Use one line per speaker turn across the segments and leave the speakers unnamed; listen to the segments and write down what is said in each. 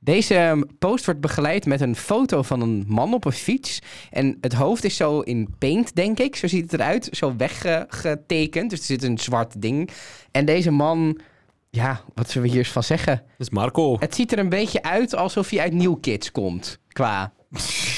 Deze ehm, post wordt begeleid met een foto van een man op een fiets. En het hoofd is zo in paint, denk ik. Zo ziet het eruit. Zo weggetekend. Dus er zit een zwart ding. En deze man... Ja, wat zullen we hier eens van zeggen?
Dat is Marco.
Het ziet er een beetje uit alsof hij uit New Kids komt. Qua...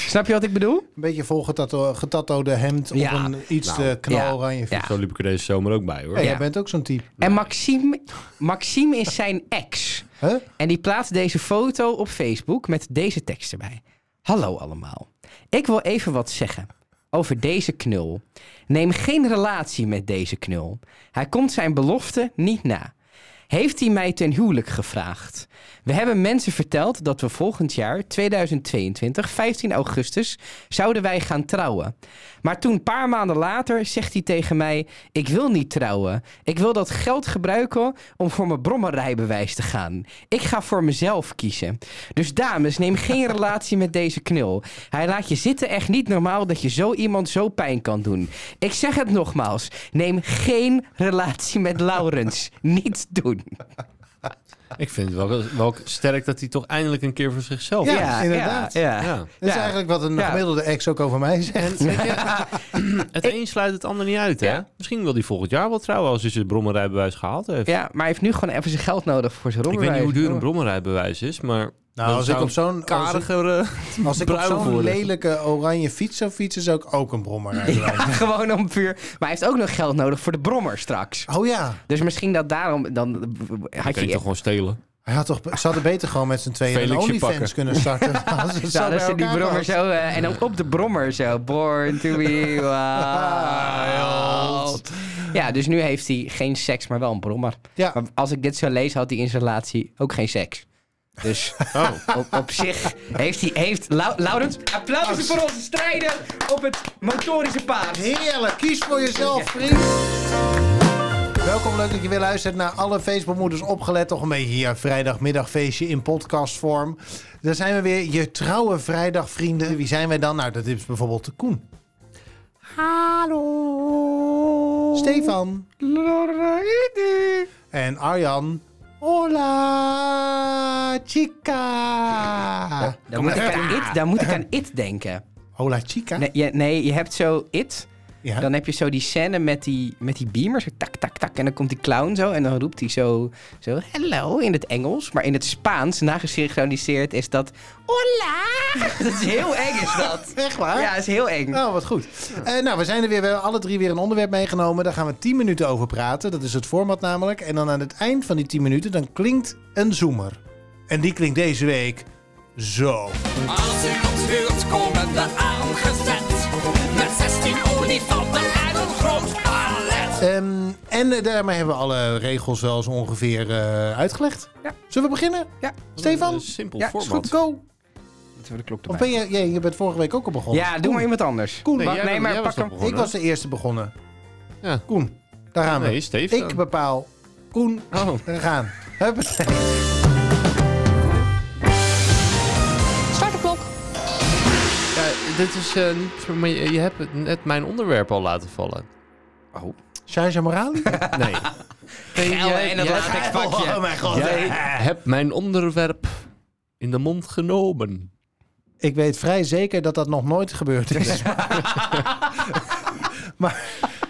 Snap je wat ik bedoel?
Een beetje vol getato- getatoeëerde hemd
Ja.
op een iets
Nou,
eh, knaloranje fiets.
ja.
Zo liep ik er deze zomer ook bij, hoor.
Ja,
Ja.
jij bent ook zo'n type.
En Maxime, Maxime is zijn ex.
Huh?
En die plaatst deze foto op Facebook met deze tekst erbij. Hallo allemaal. Ik wil even wat zeggen over deze knul. Neem geen relatie met deze knul. Hij komt zijn belofte niet na. Heeft hij mij ten huwelijk gevraagd? We hebben mensen verteld dat we volgend jaar, 2022, 15 augustus, zouden wij gaan trouwen. Maar toen, een paar maanden later, zegt hij tegen mij: Ik wil niet trouwen. Ik wil dat geld gebruiken om voor mijn brommerrijbewijs te gaan. Ik ga voor mezelf kiezen. Dus dames, neem geen relatie met deze knul. Hij laat je zitten echt niet normaal dat je zo iemand zo pijn kan doen. Ik zeg het nogmaals: neem geen relatie met Laurens. Niet doen.
Ik vind het wel, wel sterk dat hij toch eindelijk een keer voor zichzelf
Ja, inderdaad.
Ja.
Ja.
Dat is
Ja.
eigenlijk wat een
Ja.
gemiddelde ex ook over mij zegt.
Het een sluit het ander niet uit, hè?
Ja.
Misschien wil hij volgend jaar wel trouwen als hij zijn brommerrijbewijs gehaald heeft.
Ja, maar hij heeft nu gewoon even zijn geld nodig voor zijn
ik weet niet
rommelrijbewijs.
hoe duur een brommerrijbewijs is, maar...
Nou,
dat
als ik
zou
op zo'n
een
als ik-
karigere...
Als ik op
bruin
zo'n
worden.
lelijke oranje fiets zou fietsen, zou ik ook een brommer rijden.
Ja, gewoon om puur. Maar hij heeft ook nog geld nodig voor de brommer straks.
Oh ja,
Dus misschien dat daarom dan
Hij
had
kan je
je.
toch gewoon stelen?
hij had toch, ze hadden beter gewoon met z'n tweeën een
Felixje
OnlyFans
pakken.
kunnen starten. Als het zo
Ja,
bij
dus die
elkaar
brommer
was.
zo eh, en ook op de brommer zo. Born to be wild. Ja, dus nu heeft hij geen seks, maar wel een brommer.
Ja.
Maar als ik dit zo lees, had hij in zijn relatie ook geen seks. Dus
Oh.
op, op zich heeft hij. Heeft, Lau- Laurens, applaus voor onze strijder op het motorische paard.
Heerlijk, kies voor jezelf, vriend. Welkom, leuk dat je weer luistert naar alle Facebookmoeders opgelet. Toch een beetje hier, vrijdagmiddagfeestje in podcastvorm. Daar zijn we weer, je trouwe vrijdagvrienden. Wie zijn wij dan? Nou, dat is bijvoorbeeld de Koen. Hallo. Stefan. En Arjan. Hola, chica.
Daar moet, ik aan it, daar moet ik aan it denken.
Hola, chica.
Nee, je, nee, je hebt zo it.
Ja.
Dan heb je zo die scène met die, met die beamer. Zo tak, tak, tak. En dan komt die clown zo. En dan roept hij zo, zo hello in het Engels. Maar in het Spaans, nagesynchroniseerd, is dat hola. Dat is heel eng, is dat.
Echt waar?
Ja, dat is heel eng.
Oh, wat goed. Eh, nou, we zijn er weer. We hebben alle drie weer een onderwerp meegenomen. Daar gaan we 10 minuten over praten. Dat is het format namelijk. En dan aan het eind van die 10 minuten, dan klinkt een zoemer. En die klinkt deze week zo.
Als u ons huurt, komen we aangezet. Met 16 olifanten en een groot palet.
Ehm, en eh, daarmee hebben we alle regels wel zo ongeveer eh, uitgelegd.
Ja.
Zullen we beginnen?
Ja. Eh,
Stefan?
Een Eh, simpel
Ja, is
Is
format.
goed, go.
Moeten we de klok
Of
erbij.
ben je... jij- je bent vorige week ook al begonnen.
Ja, doe maar iemand anders.
Koen,
Nee,
Wacht,
jij
nee,
was-
maar
jij
pak
was
hem.
nog
ik
begonnen.
was de eerste begonnen.
Ja.
Koen, daar gaan we.
Nee, Steef
ik
dan.
bepaal. Koen,
Oh.
we gaan. Huppatee.
Start de klok.
Ja, dit is eh, niet... Maar je, je hebt het net mijn onderwerp al laten vallen.
Oh.
Shaja Morali?
Nee. nee
Gel en het latex pakje.
Oh mijn god.
Jij hebt mijn onderwerp in de mond genomen.
Ik weet vrij zeker dat dat nog nooit gebeurd is. maar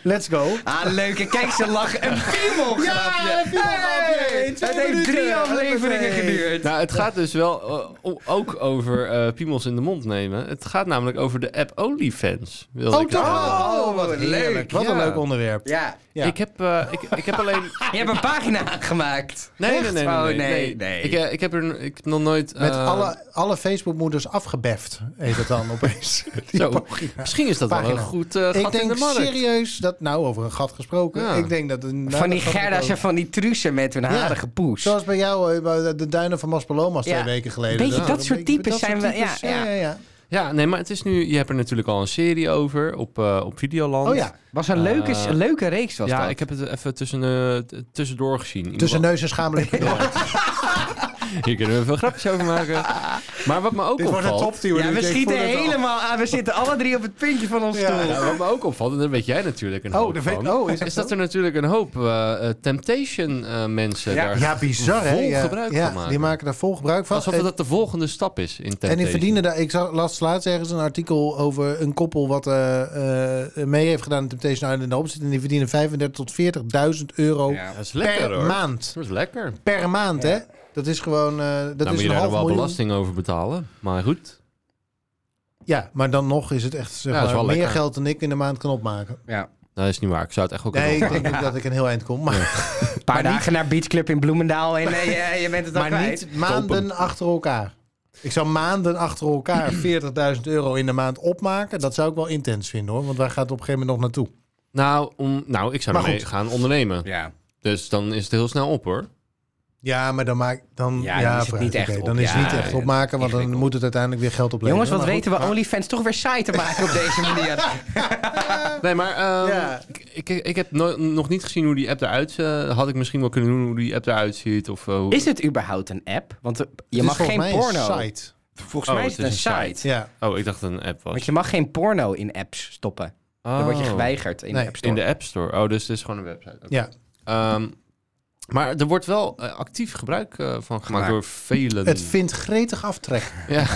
let's go.
Ah, leuke. Kijk, ze lachen. Een piemelgrapje.
een piemelgrapje.
Hey,
In twee
Het heeft drie
minuten.
afleveringen
Huppatee.
geduurd.
Nou, het gaat dus wel eh, o- ook over eh, piemels in de mond nemen. Het gaat namelijk over de app OnlyFans. wilde ik
toch?
zeggen.
Oh, wat
heerlijk.
leuk.
Wat een
Ja.
leuk onderwerp.
Ja.
Ja.
Ik, heb, eh, ik, ik heb alleen...
Je hebt een pagina aangemaakt.
Nee, nee, nee, nee,
Oh,
nee,
nee,
nee.
nee.
Ik, eh, ik heb er ik heb nog nooit...
Met
eh,
alle, alle Facebookmoeders afgebeft, heet het dan opeens. Die
Zo,
pagina.
misschien is dat wel
Pagina.
een goed eh,
Ik
gat in
denk
de markt.
serieus dat, nou over een gat gesproken,
Ja.
ik denk dat... Een,
van die Gerda's en
Zo
van die trussen met hun harige poes.
Zoals bij jou, eh, bij de- de duinen van Maspalomas
Ja.
twee weken geleden. Nou,
Beetje dat soort
een
types
dat soort
zijn we- ja,
types,
ja.
ja, ja.
Ja, nee, maar het is nu... Je hebt er natuurlijk al een serie over op, eh, op Videoland.
Oh ja,
Was een leuke,
Eh,
een leuke reeks was
Ja,
dat.
ik heb het even tussen, eh, t- tussendoor gezien.
tussen
Iemand-
neus en schaamlip.
Hier kunnen we veel grapjes over maken. Maar wat me ook
Dit wordt een dus
opvalt...
top
Ja, we schieten helemaal aan. We zitten alle drie op het puntje van ons
Ja.
stoel.
Ja, wat me ook opvalt, en daar weet jij natuurlijk een
Oh,
hoop
dat weet-
van,
oh, is dat
dat
zo?
er natuurlijk een hoop eh, eh, Temptation eh, mensen
Ja.
daar
Ja, bizar hè?
vol
Ja,
gebruik
ja,
van maken.
die maken daar vol gebruik van.
Alsof
En-
dat de volgende stap is in Temptation.
En die verdienen daar. Ik zag- las laatst ergens een artikel over een koppel wat eh, eh, mee heeft gedaan in Temptation Island en erop zit. En die verdienen 35 tot 40.000 euro
Ja, dat is
per
lekker hoor.
maand.
Dat is lekker.
Per maand, hè? Dat is gewoon. eh, dat
Dan
is
Nou, moet je
een
daar
half
nog wel
miljoen.
belasting over betalen. Maar goed.
Ja, maar dan nog is het echt zeg
Ja, dat is
maar,
wel
meer
lekker.
geld dan ik in de maand kan opmaken.
Dat is niet waar. Ik zou het echt ook
Nee,
kunnen
ik
opmaken.
denk ook dat ik een heel eind kom. Maar,
Een paar dagen naar Beach Club in Bloemendaal en eh, je, je bent het al
maar
kwijt.
niet maanden achter elkaar. Ik zou maanden achter elkaar 40.000 euro in de maand opmaken. Dat zou ik wel intens vinden hoor. Want waar gaat het op een gegeven moment nog naartoe?
Nou, om, nou, ik zou
Maar
ermee
goed.
gaan ondernemen.
Ja.
Dus dan is het heel snel op hoor.
Ja, maar dan maak dan
Ja, dan is het
vooruit,
niet echt
oké.
op.
Dan is het
Ja,
niet echt
ja,
opmaken, want dan
ingewikkeld.
moet het uiteindelijk weer geld opleveren.
Jongens, wat
Maar goed,
weten we OnlyFans toch weer saai te maken op deze manier?
Nee, maar ehm,
Ja.
ik, ik, ik heb no- nog niet gezien hoe die app eruit eh, Had ik misschien wel kunnen doen hoe die app eruit ziet. Of, eh, hoe...
Is het überhaupt een app? Want eh, je
het
mag
is volgens
geen
mij
porno.
Een site.
Volgens
Oh,
mij is het een site.
Ja.
Oh, ik dacht dat het een app was.
Want je mag geen porno in apps stoppen. Dan word je
Oh.
geweigerd in
Nee,
de App Store.
In de App Store. Oh, dus het is gewoon een website. Oké.
Ja.
Ehm, maar er wordt wel eh, actief gebruik eh, van gemaakt
Maar-
door velen.
Het vindt gretig aftrek.
ja,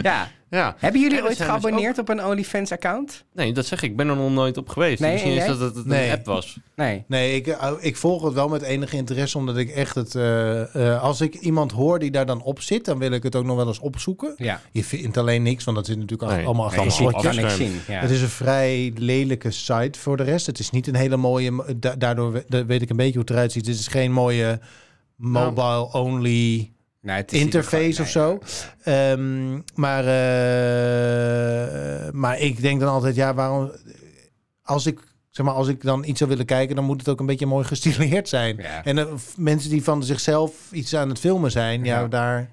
Ja.
ja,
Hebben jullie
Ja, er
ooit
zijn dus
geabonneerd op een OnlyFans-account?
nee, dat zeg ik. Ik ben er nog nooit op geweest.
Nee,
Misschien is
nee?
dat het een
Nee.
app was.
Nee.
Nee, ik, eh, ik volg het wel met enige interesse, omdat ik echt het... eh, eh, als ik iemand hoor die daar dan op zit, dan wil ik het ook nog wel eens opzoeken.
Ja.
Je vindt alleen niks, want dat zit natuurlijk
Nee.
allemaal achter
Nee, je
een
ziet-
slotje.
kan ik
afschermen.
zien. Ja.
Het is een vrij lelijke site voor de rest. Het is niet een hele mooie... da- daardoor we- da- weet ik een beetje hoe het eruit ziet. Het is geen mooie mobile-only...
Nee, Nou, het is niet
interface of
gewoon-
zo. Ehm, maar, eh, maar ik denk dan altijd, ja, waarom... Als ik, zeg maar, als ik dan iets zou willen kijken, dan moet het ook een beetje mooi gestileerd zijn.
nee, ja,
En eh, f- mensen die van zichzelf iets aan het filmen zijn, ja,
Ja.
daar...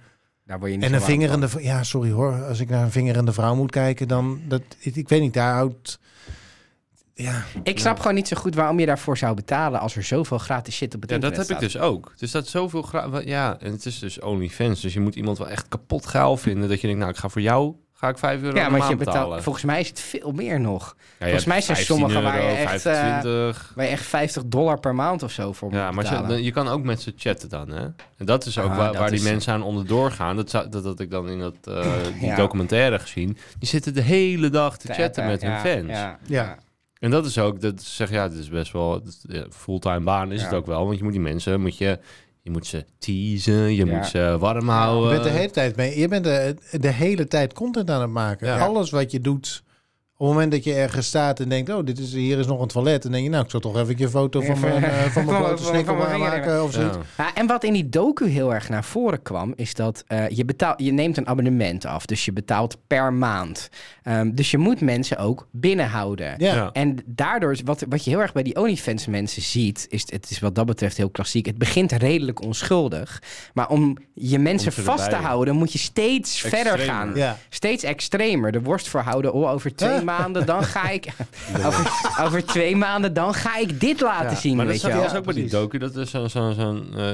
daar word je niet
En een
zo warm van.
vingerende... v- Ja, sorry hoor, als ik naar een vingerende vrouw moet kijken, dan... Dat, ik, ik weet niet, daar houdt... Ja,
Ik snap gewoon niet zo goed waarom je daarvoor zou betalen als er zoveel gratis shit op het
Ja, dat
internet
heb ik
staat.
dus ook. Dus dat zoveel gra- wa- Ja, en het is dus OnlyFans. Dus je moet iemand wel echt kapot gaal vinden. Dat je denkt, nou, ik ga voor jou ga ik 5
Ja,
euro per
want je
maand
betaalt,
betalen.
volgens mij is het veel meer nog.
Ja, je
volgens mij
hebt
zijn
15
sommige waar je
euro,
echt, eh,
25.
Waar je echt 50 dollar per maand of zo voor
Ja,
moet
maar ze-
betalen.
dan- je kan ook met ze chatten dan, hè? En dat is ook
Ah,
waar,
dat
waar die
is-
mensen aan onderdoor gaan. Dat, zou- dat had ik dan in dat, eh, die
Ja.
documentaire gezien. Die zitten de hele dag te chatten met hun
ja,
fans.
Ja,
Ja.
ja.
En dat is ook, dat ze zeggen, ja, dit is best wel dat is, ja, fulltime baan is
Ja.
het ook wel. Want je moet die mensen, moet je, je moet ze teasen, je
Ja.
moet ze warm
je
houden.
bent de hele tijd mee. Je bent de, de hele tijd content aan het maken.
Ja.
Alles wat je doet. Op het moment dat je ergens staat en denkt, oh, dit is, hier is nog een toilet. Dan denk je, nou, ik zal toch even een foto van
Even-
mijn, eh, van mijn
van-
blote
van-
snikkel
van mijn vinger
maken of zoiets.
Ja.
Ja, Nou, en wat in die docu heel erg naar voren kwam, is dat eh, je, betaalt, je neemt een abonnement af. Dus je betaalt per maand. Ehm, dus je moet mensen ook binnenhouden.
Ja.
Ja.
En daardoor, is- wat, wat je heel erg bij die OnlyFans mensen ziet, is het is wat dat betreft heel klassiek. Het begint redelijk onschuldig. Maar om je mensen
ze
vast te
erbij.
houden, moet je steeds verder
Extremer.
gaan.
Ja.
Steeds extremer. De worst voor houden. Oh, over twee
Huh?
maanden dan ga ik. over, over twee maanden dan ga ik dit laten zien.
Maar
weet
dat
je wel.
was ook bij die docu, dat is zo'n zo,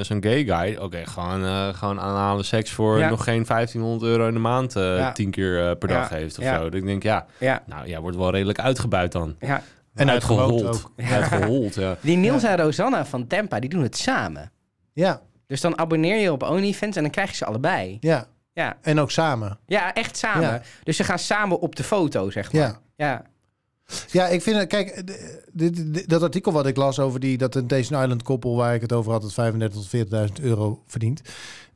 zo, gay guy. Oké, gewoon, eh, gewoon aanhalen seks voor
Ja.
nog geen 1500 euro in de maand eh,
Ja.
tien keer eh, per
Ja.
dag heeft of
Ja.
zo. Dat ik denk, ja,
Ja,
nou, jij wordt wel redelijk uitgebuit dan.
ja.
En uitgewoond
uitgehold.
ook.
Uitgehold, ja.
Die Niels en Rosanna van Tempa, die doen het samen.
Ja,
Dus dan abonneer je op OnlyFans en dan krijg je ze allebei.
ja.
Ja,
En ook samen.
ja echt samen.
Ja.
Dus ze gaan samen op de foto, zeg maar.
Ja.
Ja,
Ja, ik vind het, kijk, d- dit- dit- dat artikel wat ik las over die, dat Temptation Island koppel waar ik het over had, dat 35.000 tot 40.000 euro verdient.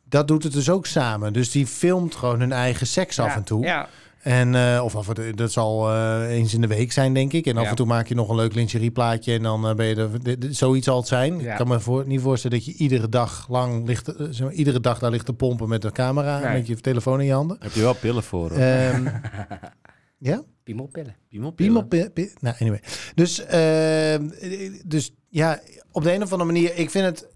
Dat doet het dus ook samen. Dus die filmt gewoon hun eigen seks af
Ja,
en toe.
Ja,
En, eh, of af en toe, dat zal eh, eens in de week zijn, denk ik. En af
Ja.
en toe maak je nog een leuk lingerieplaatje en dan eh, ben je er... dit- dit- zoiets zal het zijn.
Ja.
Ik kan me voor, niet voorstellen dat je iedere dag lang ligt... eh, zeg maar, iedere dag daar ligt te pompen met een camera... en
Nee.
met je telefoon in je handen.
Heb je wel pillen voor? hoor.
Ehm, ja?
piemelpillen.
Piemelpillen?
Piemel... pi- pi- nou, anyway. Dus, ehm, dus ja, op de een of andere manier... Ik vind het...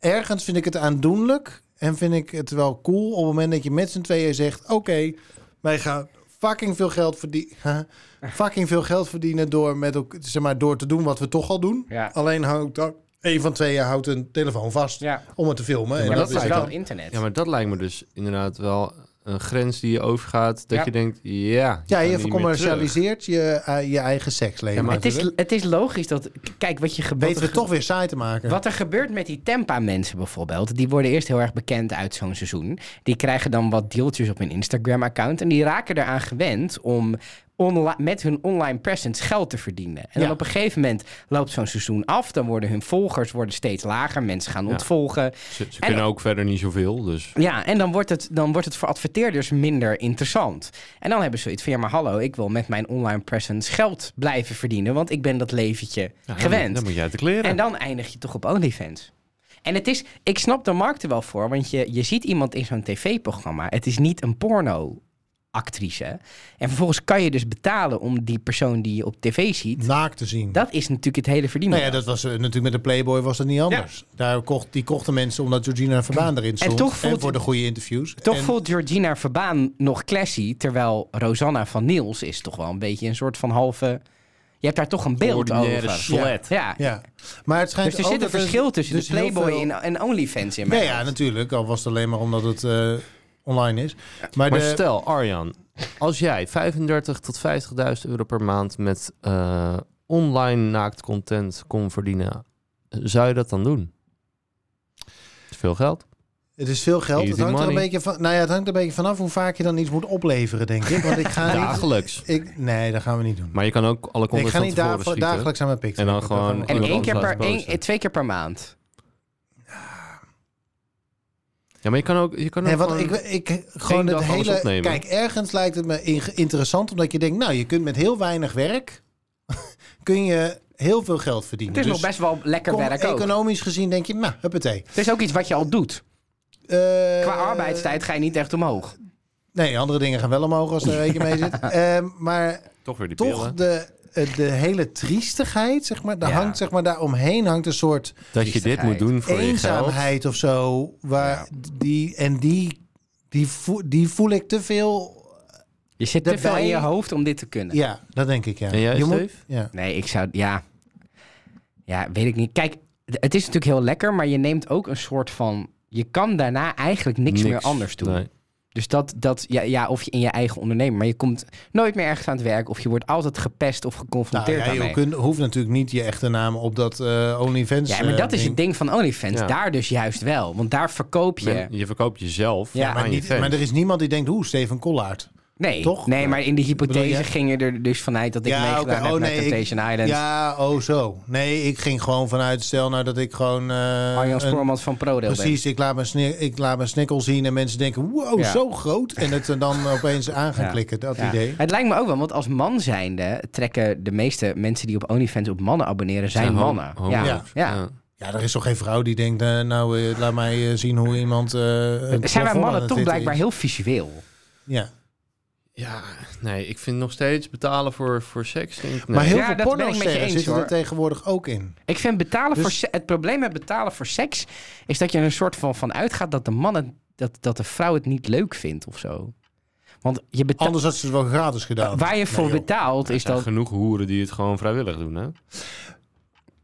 Ergens vind ik het aandoenlijk. En vind ik het wel cool op het moment dat je met z'n tweeën zegt... Oké, wij gaan fucking veel geld verdienen... fucking veel geld verdienen door, met elk, zeg maar, door te doen wat we toch al doen.
Ja.
Alleen houdt... daar- Een van tweeën houdt een telefoon vast
Ja.
om het te filmen.
Ja,
en
Maar
dat
dat,
lijkt
is wel
me-
internet.
Ja, maar dat lijkt me dus inderdaad wel een grens die je overgaat, dat
Ja.
je denkt, ja...
Ja,
kan
je
niet meer
vercommercialiseert je, eh, je eigen seksleven.
Ja, maar-
Het is, het is logisch dat... k- Kijk, wat je gebeurt...
Weten we toch weer saai te maken.
Wat er gebeurt met die Tempa-mensen bijvoorbeeld, die worden eerst heel erg bekend uit zo'n seizoen. Die krijgen dan wat deeltjes op hun Instagram-account en die raken eraan gewend om onla- met hun online presence geld te verdienen. En
Ja.
dan op een gegeven moment loopt zo'n seizoen af, dan worden hun volgers worden steeds later, mensen gaan ontvolgen.
terug. Ze, ze
En-
kunnen ook verder niet zoveel, dus...
Ja, en dan wordt, het, dan wordt het voor adverteerders minder interessant. En dan hebben ze zoiets van, ja maar hallo, ik wil met mijn online presence geld blijven verdienen, want ik ben dat leventje
Ja, dan-
gewend.
Dan moet je uit de kleren.
En dan eindig je toch op OnlyFans. En het is, ik snap de markt er wel voor, want je, je ziet iemand in zo'n tv-programma. Het is niet een porno-actrice. En vervolgens kan je dus betalen om die persoon die je op tv
Mm.
ziet.
Naakt te zien.
Dat is natuurlijk het hele verdienen.
Nou ja, dat was eh, natuurlijk met de Playboy was dat niet anders. Daar kocht, die kochten mensen omdat Georgina Verbaan erin stond.
toch voelt-
voor de goede interviews.
Toch
En-
voelt Georgina Verbaan nog classy, terwijl Rosanna van Niels is toch wel een beetje een soort van halve... Je hebt daar toch een beeld
Ordinaire
over.
slet.
Ja.
Ja. Maar het schijnt
Dus er
ook
zit een
dat
verschil tussen
dus
de
heel
Playboy
veel-
en, en OnlyFans in
Ja,
mij.
ja, natuurlijk. Al was het alleen maar omdat het eh, online is. Maar,
Maar
de,
stel, Arjan, als jij 35 tot 50.000 euro per maand met eh, online naakt content kon verdienen, zou je dat dan doen? Dat is veel geld.
het is veel geld. Het
Easy
hangt, er een
money.
beetje van, nou ja, het hangt er een beetje vanaf hoe vaak je dan iets moet opleveren, denk ik. Want ik ga niet...
Dagelijks.
Ik, nee, dat gaan we niet doen.
Maar je kan ook alle
ik
content
ga
van
niet
tevoren
dag,
schieten.
dagelijks aan mijn pik.
En dan
trekken.
gewoon-
Dat-
En
Iemand
één keer
anders
per,
laat boos
één, twee keer per maand.
Ja, maar je kan ook... Je kan ook
Nee, want
gewoon-
ik, ik gewoon
één
het
dag alles
hele.
opnemen.
Kijk, ergens lijkt het me in- interessant omdat je denkt, nou, je kunt met heel weinig werk kun je heel veel geld verdienen.
Het is
Dus
nog best wel lekker
kom-
werk ook.
Economisch gezien denk je, nou, huppatee.
Het is ook iets wat je al doet.
Eh,
Qua arbeidstijd ga je niet echt omhoog.
Nee, andere dingen gaan wel omhoog als er een rekening mee zit. Ehm, maar
Toch weer die
toch
pillen.
de, eh, de hele triestigheid, zeg maar, daar
Ja.
hangt zeg maar daaromheen hangt een soort
Dat je dit moet doen voor je geld.
eenzaamheid of zo. Waar die, en die, die, voel, die voel ik te veel.
Je zit te
Daarbij-
veel in je hoofd om dit te kunnen.
Ja, Nou, dat denk ik, ja.
En jij,
je
Steve?
ja.
Nee, ik zou... Ja. ja, weet ik niet. Kijk, d- het is natuurlijk heel lekker, maar je neemt ook een soort van... Je kan daarna eigenlijk niks, meer anders doen.
Nee.
Dus dat, dat ja, ja, of je in je eigen onderneming... Maar je komt nooit meer ergens aan het werk... of je wordt altijd gepest of
Nou,
geconfronteerd
ja, je
daarmee.
kunt, hoeft natuurlijk niet je echte naam op dat eh OnlyFans.
Ja, maar
eh,
dat is het ding van OnlyFans.
Ja.
Daar dus juist wel. Want daar verkoop je...
Men- Je verkoopt jezelf
Ja,
aan
Maar,
je
niet,
fans.
maar er is niemand die denkt, hoe, Steven Kollaert.
Nee,
Toch?
nee maar in de
Bedoel
hypothese
je?
ging je er dus vanuit dat ik
Ja,
meegedaan
oké.
heb
Oh,
naar
nee, ik-
Temptation Island.
Ja, oh zo. Nee, ik ging gewoon vanuit, stel nou dat ik gewoon... eh,
Arjan
een-
Spoormans van ProDeel ben.
Precies, ik laat, mijn sni- ik laat mijn snikkel zien en mensen denken, wow,
Ja.
zo groot. En het er dan opeens aan gaan
Ja.
klikken, dat
Ja.
idee.
Het lijkt me ook wel, want als man zijnde trekken de meeste mensen die op OnlyFans op mannen abonneren, zijn,
Zijn hom-
mannen.
homo's.
ja.
Ja.
Ja.
Ja, er is toch geen vrouw die denkt, eh, nou, eh, laat mij eh, zien hoe iemand... eh, een
Zijn wij
plafond aan
mannen
het
toch
zitten
blijkbaar
is.
heel visueel?
Ja.
Ja, nee, ik vind nog steeds betalen voor, voor seks. vind ik- nee.
Maar heel
Ja,
veel
dat ben ik met je
porno-sterren
eens,
zitten er
hoor.
tegenwoordig ook in.
Ik vind betalen
Dus-
voor se- het probleem met betalen voor seks is dat je er een soort van van uitgaat dat de mannen dat, dat de vrouw het niet leuk vindt of zo. Want je betaalt
Anders had ze het wel gratis gedaan.
waar je voor
Nee, joh.
betaalt is
Er zijn
dat
genoeg hoeren die het gewoon vrijwillig doen, hè?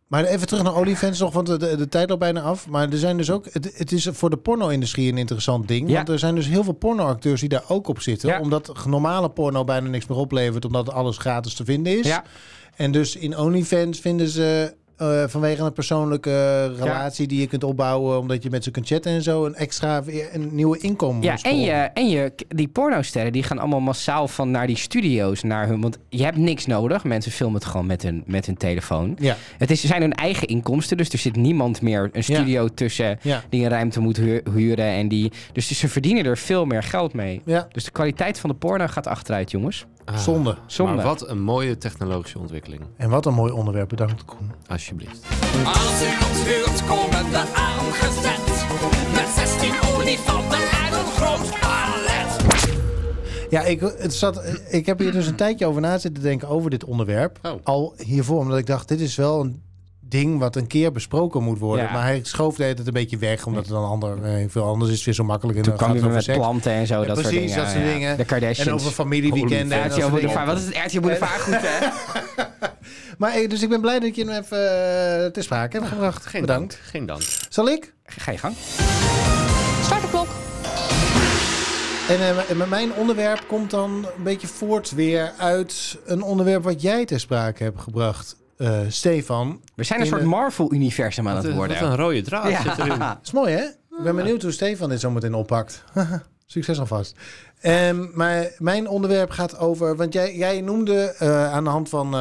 Maar even terug naar OnlyFans nog, want de, de, de tijd loopt bijna af. Maar er zijn dus ook, het, het is voor de porno-industrie een interessant ding.
Ja.
Want er zijn dus heel veel porno-acteurs die daar ook op zitten.
Ja.
Omdat normale porno bijna niks meer oplevert, omdat alles gratis te vinden is.
Ja.
En dus in OnlyFans vinden ze eh, vanwege een persoonlijke eh, relatie die je kunt opbouwen, omdat je met ze kunt chatten en zo, een extra weer een nieuwe inkomen.
Ja, en, je, en je, die pornosterren die gaan allemaal massaal van naar die studio's naar hun. Want je hebt niks nodig. Mensen filmen het gewoon met hun, met hun telefoon.
Ja.
Het is, zijn hun eigen inkomsten, dus er zit niemand meer een studio tussen
Ja.
die een ruimte moet hu- huren. En die, dus ze verdienen er veel meer geld mee.
Ja,
Dus de kwaliteit van de porno gaat achteruit, jongens.
Ah,
zonde.
Zonde.
Maar wat een mooie technologische ontwikkeling,
En wat een mooi onderwerp, bedankt Koen.
alsjeblieft.
Als u ons huurt, komen we aangezet. Met 16 olifanten en een groot palet.
Ja, ik, het zat, ik heb hier dus een tijdje over na zitten denken over dit onderwerp.
Oh.
Al hiervoor, omdat ik dacht, dit is wel een ding wat een keer besproken moet worden.
Ja.
Maar hij schoof de hele tijd een beetje weg, omdat het dan ander, eh, veel anders is. Het weer zo makkelijk. En
Toen
dan
kwam
gaat
je
het
met
over seks.
planten en zo, dat soort
precies,
dingen.
dat soort
ja.
dingen.
De Kardashians.
En over eh, familieweekenden. en
RTL
dat soort dingen.
Boulevard. Wat is het RTL Boulevard goed, hè?
Maar eh, dus ik ben blij dat je hem even eh, te sprake hebt gebracht.
Nou, Geen
Bedankt.
dank. Geen dank.
Zal ik?
Ga je gang.
Start de klok.
En eh, m- mijn onderwerp komt dan een beetje voort weer uit een onderwerp wat jij ter sprake hebt gebracht, eh, Stefan.
We zijn een
In
soort
de-
Marvel-universum aan
Wat
het
een-
worden.
wat een rode draad zit erin.
Dat is mooi, hè? Ik ben benieuwd hoe Stefan dit zo meteen oppakt. Succes alvast. Ehm, maar mijn onderwerp gaat over. Want jij, jij noemde eh, aan de hand van eh,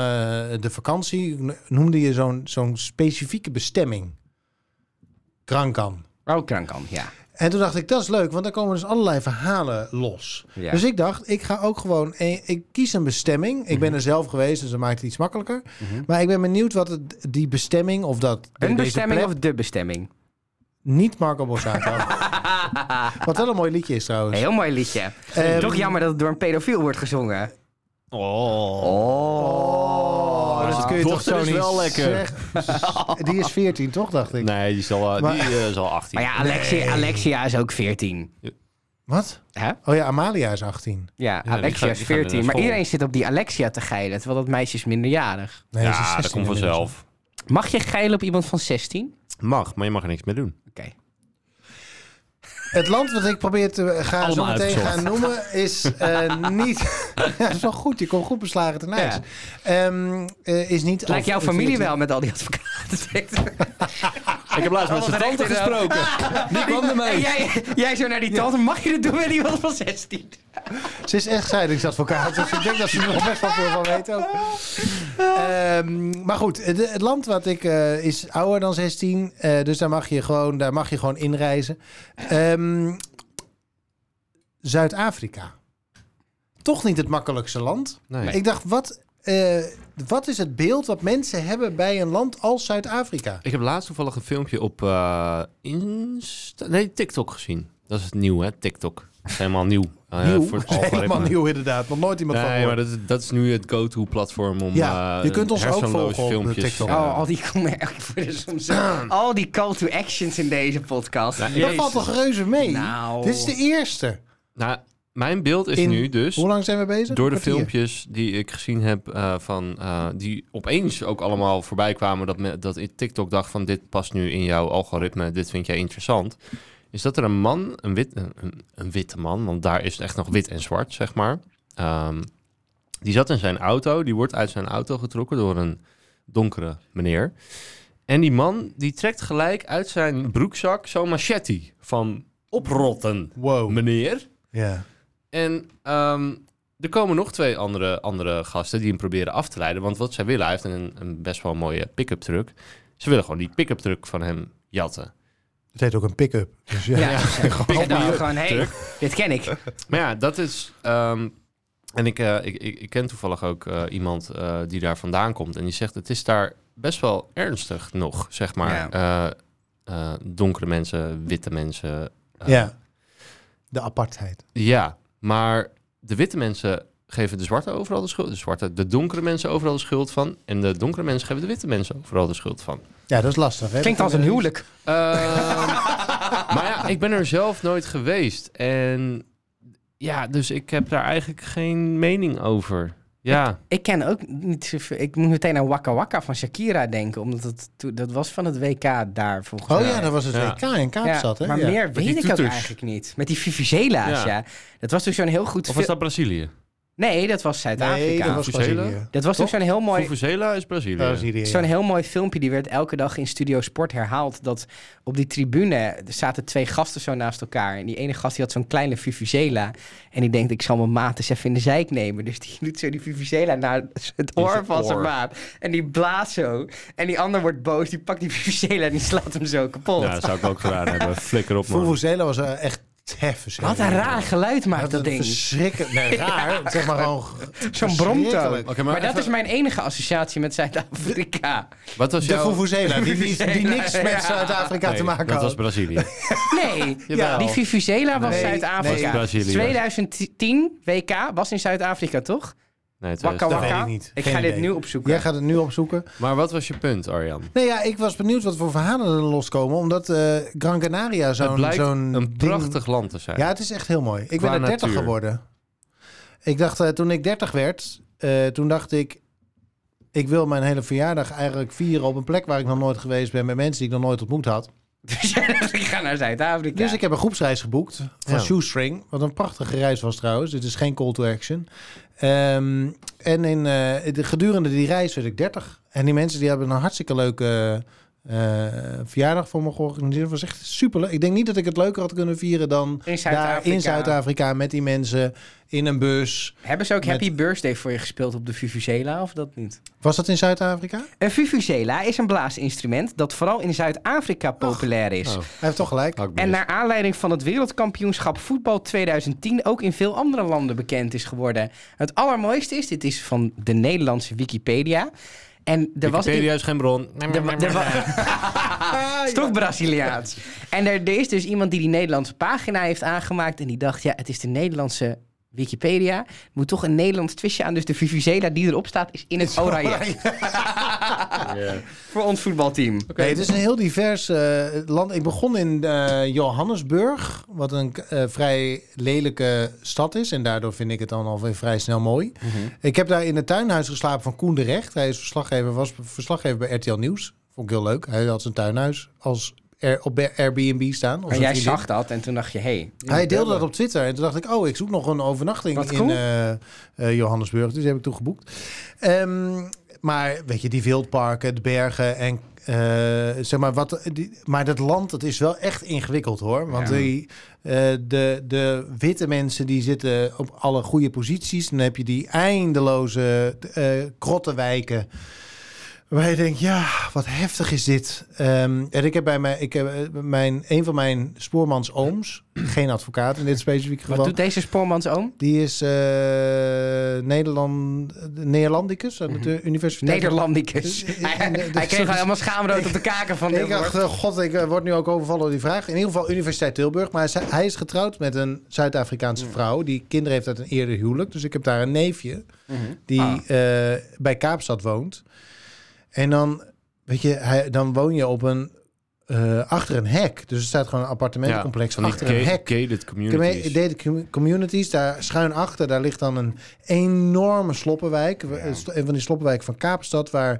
de vakantie. noemde je zo'n zo'n specifieke bestemming: Krankan.
Oh, krankan, ja.
En toen dacht ik, dat is leuk, want dan komen dus allerlei verhalen los.
Ja.
Dus ik dacht, ik ga ook gewoon, eh, ik kies een bestemming. Ik ben
Mhm.
er zelf geweest, dus dat maakt het iets makkelijker. Maar ik ben benieuwd wat het, die bestemming of dat
Een
deze
bestemming
plek-
of de bestemming?
Dus-
niet Marco Borsato. wat wel een mooi liedje is trouwens.
Heel mooi liedje.
Ehm,
Toch jammer dat het door een pedofiel wordt gezongen.
Oh.
Oh.
Oh, dat kun je toch
Dochter
zo
is
niet
wel lekker.
zeggen. Die is 14, toch dacht ik.
Nee, die is al, eh,
Maar-
die, eh, is al 18.
Maar ja, Alexia, Alexia is ook 14.
Wat?
Hè?
Oh ja, Amalia is 18.
Ja,
die
Alexia
gaan-
is
die gaan weer
14.
naar
Maar
school.
iedereen zit op die Alexia te geilen, terwijl dat meisje is minderjarig.
Nee, ze is 16
dat komt
inmiddels.
vanzelf.
Mag je geilen op iemand van 16?
Mag, maar je mag er niks mee doen.
Oké.
Het land wat ik probeer te gaan, zo
Allemaal
meteen
uitgezocht.
gaan noemen is eh, niet. Ja, dat is wel goed, je komt goed beslagen ten ijs.
Ja.
Ehm, eh, is niet.
Lijkt
of-
jouw
of
familie
niet-
wel met al die advocaten?
Ik heb laatst met
Oh,
zijn
wat
tante
recht in de
gesproken. Die kwam
En
ermee.
jij, jij zo naar die tante, mag je dat doen met iemand van 16?
Ze is echt scheidingsadvocaat, dus ik denk dat ze er nog best wel veel van weet ook. Ehm, maar goed, de- het land wat ik eh, is ouder dan 16, eh, dus daar mag je gewoon, daar mag je gewoon inreizen. Ehm, Zuid-Afrika. Toch niet het makkelijkste land.
Nee.
Ik dacht, wat, eh, wat is het beeld wat mensen hebben bij een land als Zuid-Afrika?
Ik heb laatst toevallig een filmpje op eh, Insta... Nee, TikTok gezien. Dat is het nieuw, hè? TikTok. Dat is helemaal nieuw. eh,
nieuw.
Voor het
Helemaal
algoritme.
nieuw inderdaad. Nog nooit iemand van
Nee, maar
gehoord.
dat is, dat is nu het go-to-platform om
Ja,
eh,
je kunt ons ook
hersenloze
volgen op de
filmpjes,
TikTok.
eh,
Oh, al die commercials worden soms zo- Al die call to actions in deze podcast.
Nou,
Dat
Jezus.
valt toch reuze mee?
Nou.
Dit is de eerste.
Nou, mijn beeld is
In-
nu dus...
Hoe lang zijn we bezig?
Door de
Een kwartier.
filmpjes die ik gezien heb eh, van eh, die opeens ook allemaal voorbij kwamen dat, me, dat ik TikTok dacht van dit past nu in jouw algoritme, dit vind jij interessant. Is dat er een man, een, wit, een, een- een witte man, want daar is het echt nog wit en zwart, zeg maar. Ehm, die zat in zijn auto, die wordt uit zijn auto getrokken door een donkere meneer. En die man die trekt gelijk uit zijn broekzak zo'n machete van oprotten,
Wow.
meneer.
Ja.
En ehm, er komen nog twee andere, andere gasten die hem proberen af te leiden. Want wat zij willen, hij heeft een, een best wel mooie pick-up truck. Ze willen gewoon die pick-up truck van hem jatten.
Het heet ook een pick-up. Dus ja.
Ja, ja. Ik
maar-
dacht gewoon, hé, dit ken ik.
Maar ja, dat is. ehm, en ik, eh, ik, ik, ik ken toevallig ook eh, iemand eh, die daar vandaan komt. En die zegt: Het is daar best wel ernstig nog, zeg maar. Eh, eh, donkere mensen, witte mensen. eh,
ja. De apartheid.
Ja, maar de witte mensen geven de zwarte overal de schuld. De zwarte, de donkere mensen overal de schuld van. En de donkere mensen geven de witte mensen overal de schuld van.
Ja, dat is lastig. Hè?
Klinkt
Dat
als een
kan-
huwelijk.
Ehm, maar ja, ik ben er zelf nooit geweest. En ja, dus ik heb daar eigenlijk geen mening over. Ja,
Ik ken ook niet zoveel. Ik moet meteen aan Waka Waka van Shakira denken. Omdat het, to- dat was van het WK daar volgens
Oh
mij.
ja, dat was het
Ja.
WK in Kaapstad. hè?
maar
Ja.
meer
die
weet ik ook
toeters.
eigenlijk niet. Met die Vivizela's, ja.
Ja.
Dat was toen zo'n heel goed...
of is
fil-
dat Brazilië?
Nee, dat was
Nee,
Zuid-Afrika.
dat
dat was,
was Brazilië.
toen
Toch?
zo'n heel mooi...
Vuvuzela is
Dat
Brazilië.
was Syrië.
Zo'n heel mooi filmpje, die werd elke dag in Studio Sport herhaald. Dat op die tribune er zaten twee gasten zo naast elkaar. En die ene gast die had zo'n kleine Vivuzela. En die denkt, ik zal mijn maat eens even in de zijk nemen. Dus die doet zo die Vivuzela naar het oor
zijn
van zijn
oor.
maat. En die blaast zo. En die ander wordt boos, die pakt die Vivuzela en die slaat hem zo kapot.
Ja, dat zou ik ook gedaan hebben. Flikker op, man.
Vuvuzela was eh, echt heffen.
Wat een raar geluid maakt dat ding.
Verschrikkelijk. Nee, raar. Zeg maar gewoon...
Zo'n bromtoon.
verschrikkelijk.
Oké, maar
Maar dat
even-
is mijn enige associatie met Zuid-Afrika.
Wat was
De
jouw...
Vuvuzela, die, die, die niks
Ja.
met Zuid-Afrika
Nee,
te maken
dat
had.
was Brazilië.
Nee,
Jawel.
die Vivuzela Oh. was
Nee,
Zuid-Afrika.
nee. Was Brazilië.
2010 WK was in Zuid-Afrika, toch?
Nee,
Wakka
Dat
wakka.
weet ik niet.
Oh, Ik
Geen
ga dit
idee.
nu opzoeken.
Jij gaat het nu opzoeken.
Maar wat was je punt, Arjan?
Nee, ja, ik was benieuwd wat voor verhalen er loskomen. Omdat eh, Gran Canaria
Het
zo'n...
blijkt
zo'n
een
ding-
prachtig land te zijn.
Ja, het is echt heel mooi. Ik
Qua
ben er 30
natuur.
geworden. Ik dacht, eh, toen ik 30 werd, eh, toen dacht ik... Ik wil mijn hele verjaardag eigenlijk vieren op een plek waar ik nog nooit geweest ben... met mensen die ik nog nooit ontmoet had.
Dus ik ga naar Zuid-Afrika.
Dus ik heb een groepsreis geboekt van
Ja.
Shoestring. Wat een prachtige reis was trouwens. Dit is geen call to action. Ehm, en in, eh, de, gedurende die reis werd ik 30. En die mensen die hebben een hartstikke leuke eh, verjaardag voor me georganiseerd. Het was echt superleuk. Ik denk niet dat ik het leuker had kunnen vieren dan
In
daar in
Zuid-Afrika.
Zuid-Afrika met die mensen in een bus.
Hebben ze ook
Met-
Happy Birthday voor je gespeeld op de Vuvuzela of dat niet?
Was dat in Zuid-Afrika? Hij
Een Eh, Vuvuzela is een blaasinstrument dat vooral in Zuid-Afrika populair is.
Oh,
heeft toch gelijk.
hou ik
En
mis.
naar aanleiding van het wereldkampioenschap voetbal 2010 ook in veel andere landen bekend is geworden. Het allermooiste is, dit is van de Nederlandse Wikipedia. En er was...
Wikipedia is geen bron.
Oh,
Er, wa- er wa- is toch Braziliaans. En er, er is dus iemand die die Nederlandse pagina heeft aangemaakt. En die dacht, ja, het is de Nederlandse Wikipedia. Er moet toch een Nederlands twistje aan. Dus de Vuvuzela die erop staat is in het oranje.
Ja.
Voor ons voetbalteam.
Nee, het is een heel divers eh, land. Ik begon in eh, Johannesburg, wat een eh, vrij lelijke stad is. En daardoor vind ik het dan alweer vrij snel mooi.
Mhm.
Ik heb daar in het tuinhuis geslapen van Koen de Recht. Hij is verslaggever, was verslaggever bij RTL Nieuws. Vond ik heel leleuk. Hij had zijn tuinhuis als Air- op Airbnb staan. Als
En
een
jij
vriendin.
zag dat en toen dacht je, hé.
Hij deelde dat op Twitter. En toen dacht ik, oh, ik zoek nog een overnachting
Wat
in
cool.
eh, eh, Johannesburg. Dus die heb ik toen geboekt. Ehm, maar weet je, die wildparken, de bergen en eh, zeg maar wat. Die, maar dat land, dat is wel echt ingewikkeld hoor. Want
Ja.
die, eh, de, de witte mensen die zitten op alle goede posities. Dan heb je die eindeloze eh krottenwijken. Waar je denkt, ja, wat heftig is dit. Ehm, en ik heb bij mij, ik heb eh, mijn, een van mijn spoormans ooms, geen advocaat in dit specifieke
Wat
geval.
doet deze spoormans oom?
Die is eh, Nederland, Neerlandicus aan de universiteit.
Mhm. Nederlandicus.
Eh, eh,
Hij,
eh,
hij
eh,
kreeg
sorry.
al helemaal schaamrood op de kaken van
Ik
dit
dacht,
woord.
eh, god, ik eh, word nu ook overvallen door die vraag. In ieder geval Universiteit Tilburg. Maar zij- hij is getrouwd met een
Mm.
Zuid-Afrikaanse vrouw. Die kinderen heeft uit een eerder huwelijk. Dus ik heb daar een neefje. die
Ah.
eh, bij Kaapstad woont. En dan, weet je, hij, dan woon je op een, eh, achter een hek. Dus er staat gewoon een appartementencomplex achter een hek.
gated
Commu-
communities.
Gated commu- communities, daar schuin achter, daar ligt dan een enorme sloppenwijk. Een st- Een van die sloppenwijken van Kaapstad, waar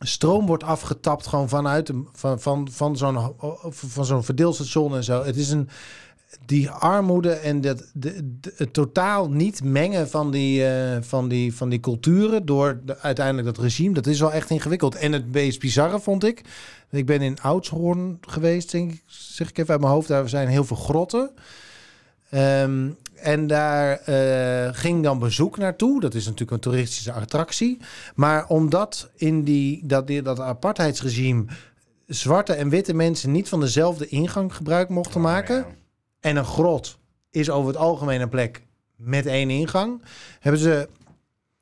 stroom wordt afgetapt gewoon vanuit een, van, van, van zo'n ho- van zo'n verdeelstation en zo. Het is een die armoede en dat de, de- het totaal niet mengen van die, eh, van die, van die culturen door de- uiteindelijk dat regime, dat is wel echt ingewikkeld. En het meest bizarre vond ik, ik ben in Oudshoorn geweest, denk ik, zeg ik even uit mijn hoofd. Daar zijn heel veel grotten. Ehm, en daar eh, ging dan bezoek naartoe. Dat is natuurlijk een toeristische attractie. Maar omdat in die, dat, die, dat apartheidsregime zwarte en witte mensen niet van dezelfde ingang gebruik mochten maken. En een grot is over het algemeen een plek met één ingang. Hebben ze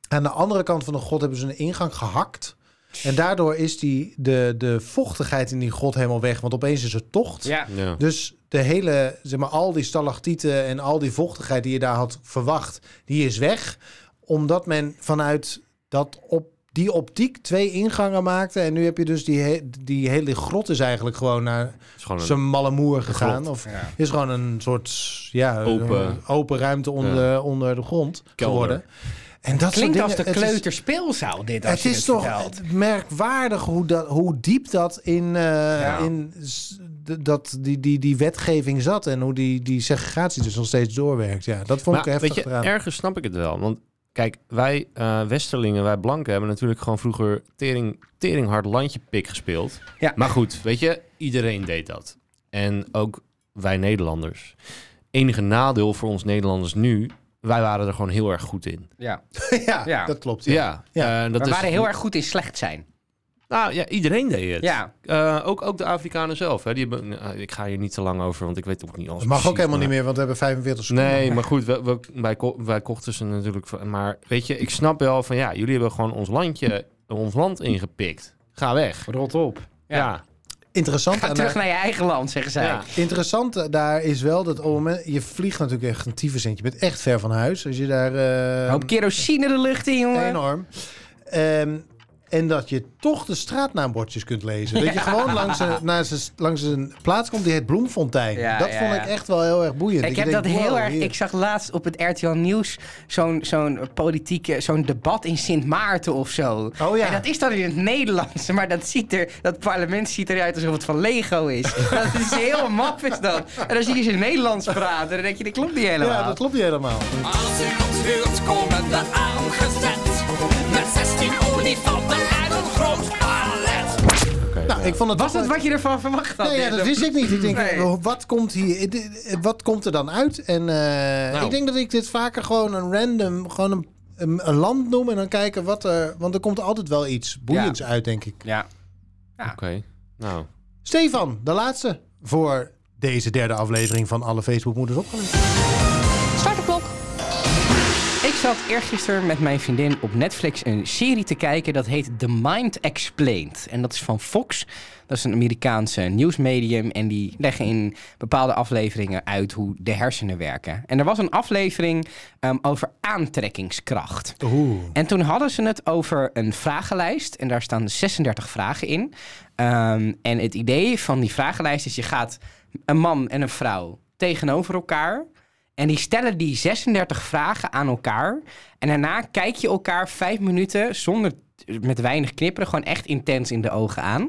aan de andere kant van de grot hebben ze een ingang gehakt. En daardoor is die, de, de vochtigheid in die grot helemaal weg. Want opeens is het tocht.
Ja.
Ja.
Dus de hele, zeg maar, al die stalactieten en al die vochtigheid die je daar had verwacht, die is weg. Omdat men vanuit dat op, die optiek twee ingangen maakte. En nu heb je dus die, he- die hele grot is eigenlijk gewoon naar
Het is gewoon een-
zijn malle moer gegaan. Of
Ja.
is gewoon een soort ja,
Open.
een open ruimte onder, de, onder de grond
Kelder.
geworden. En dat soort
Klinkt
dingen,
als de
het is-
kleuterspeelzaal dit. Als
Het
je
is
dit
toch
vertelt.
merkwaardig hoe, dat, hoe diep dat in, eh,
Ja.
in s- d- dat, die, die, die wetgeving zat. En hoe die, die segregatie dus nog steeds doorwerkt. Ja, dat vond ik
Maar,
heftig
weet je,
eraan.
ergens snap ik het wel. Want kijk, wij eh, Westerlingen, wij Blanken, hebben natuurlijk gewoon vroeger tering, tering hard landje pik gespeeld.
Ja.
Maar goed, weet je, iedereen deed dat. En ook wij Nederlanders. Enige nadeel voor ons Nederlanders nu, wij waren er gewoon heel erg goed in.
Ja.
ja,
ja.
dat klopt. Ja.
Ja, eh, dat
We
is-
waren heel erg goed in slecht zijn.
Nou ja, iedereen deed het.
Ja.
Eh, ook, ook de Afrikanen zelf. Hè. Die hebben, nou, ik ga hier niet te lang over, want ik weet ook niet alles.
Dat mag ook
precies,
helemaal
maar-
niet meer, want we hebben 45 seconden.
Nee, maar goed, we, we- wij, ko- wij kochten ze natuurlijk. van- Maar weet je, ik snap wel van ja, jullie hebben gewoon ons landje, ons land ingepikt. Ga weg.
Rot op. Ja.
Ja,
Interessant
Ga
aan
terug
haar-
naar je eigen land, zeggen zij.
Ja.
Interessant daar is wel dat op het moment, je vliegt natuurlijk echt een tyfusint. Je bent echt ver van huis. Als je daar... eh,
Een hoop kerosine de lucht in, jongen.
Enorm. Ehm, En dat je toch de straatnaambordjes kunt lezen. Dat je gewoon langs een, naar z'n- langs een plaats komt die heet Bloemfontein.
Ja,
dat
ja,
vond
ja.
ik echt wel heel erg boeiend.
ik
je
heb dat
denkt,
heel
wow,
erg.
hier.
Ik zag laatst op het RTL Nieuws zo'n zo'n politieke, zo'n debat in Sint Maarten of zo.
Oh ja.
En dat is dan in het Nederlands, maar dat ziet er, dat parlement ziet eruit alsof het van Lego is. dat is heel maf is dat. En dan zie je ze in het Nederlands praten, dan denk je, dat klopt niet helemaal.
Ja, dat klopt niet helemaal.
Als u ons huurt, komen we aangezet. Met 16 olifanten en een groot palet.
Oké,
Nou,
ja.
ik vond het
Was
toch
dat wat je ervan verwacht had?
Nee, ja, dat wist ik niet. Ik denk,
Nee.
oh, wat, komt hier, dit- wat komt er dan uit? En eh,
Nou.
ik denk dat ik dit vaker gewoon een random, gewoon een, een, een land noem en dan kijken wat er... Want er komt altijd wel iets boeiends uit, denk ik.
Ja.
Oké. Nou,
Stefan, de laatste voor deze derde aflevering van Alle Facebookmoeders Opgelegd.
Start de klok. Ik zat eergisteren met mijn vriendin op Netflix een serie te kijken. Dat heet The Mind Explained. En dat is van Fox. Dat is een Amerikaanse nieuwsmedium. En die leggen in bepaalde afleveringen uit hoe de hersenen werken. En er was een aflevering ehm, over aantrekkingskracht.
Oeh.
En toen hadden ze het over een vragenlijst. En daar staan 36 vragen in. Ehm, en het idee van die vragenlijst is: je gaat een man en een vrouw tegenover elkaar. En die stellen die 36 vragen aan elkaar. En daarna kijk je elkaar vijf minuten zonder met weinig knipperen, gewoon echt intens in de ogen aan.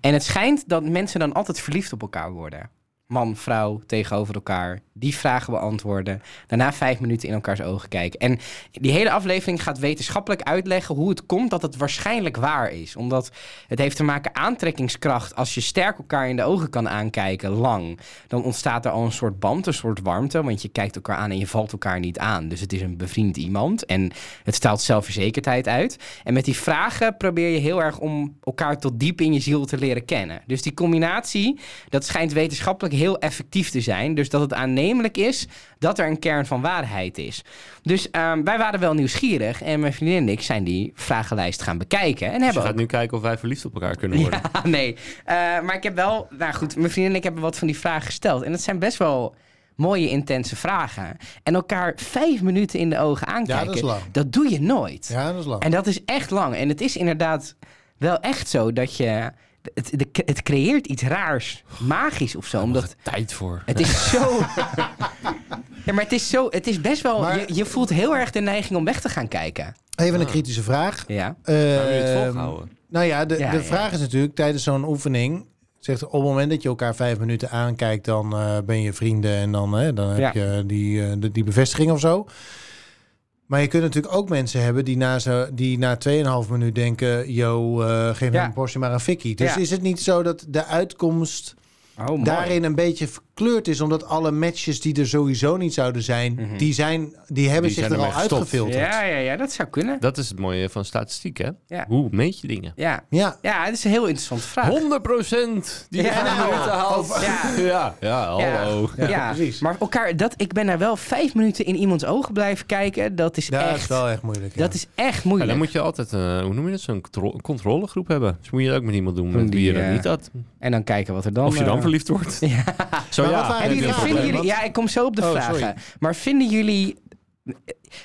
En het schijnt dat mensen dan altijd verliefd op elkaar worden. Man, vrouw tegenover elkaar. Die vragen beantwoorden. Daarna vijf minuten in elkaars ogen kijken. En die hele aflevering gaat wetenschappelijk uitleggen hoe het komt dat het waarschijnlijk waar is. Omdat het heeft te maken aantrekkingskracht. Als je sterk elkaar in de ogen kan aankijken, lang, dan ontstaat er al een soort band, een soort warmte. Want je kijkt elkaar aan en je valt elkaar niet aan. Dus het is een bevriend iemand en het straalt zelfverzekerdheid uit. En met die vragen probeer je heel erg om elkaar tot diep in je ziel te leren kennen. Dus die combinatie, dat schijnt wetenschappelijk heel effectief te zijn. Dus dat het aannemelijk is dat er een kern van waarheid is. Dus ehm, wij waren wel nieuwsgierig en mijn vriendin en ik zijn die vragenlijst gaan bekijken. En
Dus je
hebben ook
gaat nu kijken of wij verliefd op elkaar kunnen worden.
Ah, nee. Eh, maar ik heb wel... Nou goed, mijn vriendin en ik hebben wat van die vragen gesteld. En dat zijn best wel mooie, intense vragen. En elkaar vijf minuten in de ogen aankijken.
dat is lang.
Dat doe je nooit.
Ja, dat is lang.
En dat is echt lang. En het is inderdaad wel echt zo dat je... Het, de- het creëert iets raars, magisch of zo. Omdat
Tijd voor.
het is zo... ja, maar het is zo... Het is best wel...
Maar-
je, je voelt heel erg de neiging om weg te gaan kijken.
Even een kritische vraag.
Ja.
Gaan we het
Ehm,
volhouden?
Nou ja, de,
Ja,
de
ja.
vraag is natuurlijk tijdens zo'n oefening. Zegt, op het moment dat je elkaar vijf minuten aankijkt, dan eh, ben je vrienden en dan, hè, dan heb
Ja.
je die, eh, de- die bevestiging of zo. Maar je kunt natuurlijk ook mensen hebben die na, zo, die na 2,5 minuut denken: yo, eh, geef me
Ja.
een portie maar een fikkie. Dus
Ja.
is het niet zo dat de uitkomst
Oh, mooi.
daarin een beetje verkleurd is? Omdat alle matches die er sowieso niet zouden zijn,
Mhm.
die, zijn die hebben
Die
zich
zijn
er al
ermee gestopt.
uitgefilterd.
Ja, ja, ja, dat zou kunnen.
Dat is het mooie van statistiek, hè?
Ja.
Hoe meet je dingen?
Ja.
ja.
Ja, het is een heel interessante vraag.
100% die
Ja,
ja,
nou,
minuten haalt.
over- Ja.
ja, ja,
Ja.
hallo.
Ja,
precies.
maar elkaar, dat, ik ben daar wel vijf minuten in iemands ogen blijven kijken. Dat is,
Dat is
echt,
wel echt moeilijk. ja.
dat is echt
Ja,
moeilijk.
dan moet je altijd, eh, hoe noem je dat, zo'n contro- controlegroep hebben. Dus moet je dat ook met iemand doen
Van
met wie je
die,
dat
eh,
niet had.
En dan kijken wat er dan...
Of je dan
eh,
verliefd wordt.
Ja.
Zo
Maar
ja. heb
wat waren
Hebben
je
jullie,
een
vragen?
vinden
probleem.
jullie, ja, ik kom zo op de
Oh,
vragen.
sorry.
Maar vinden jullie...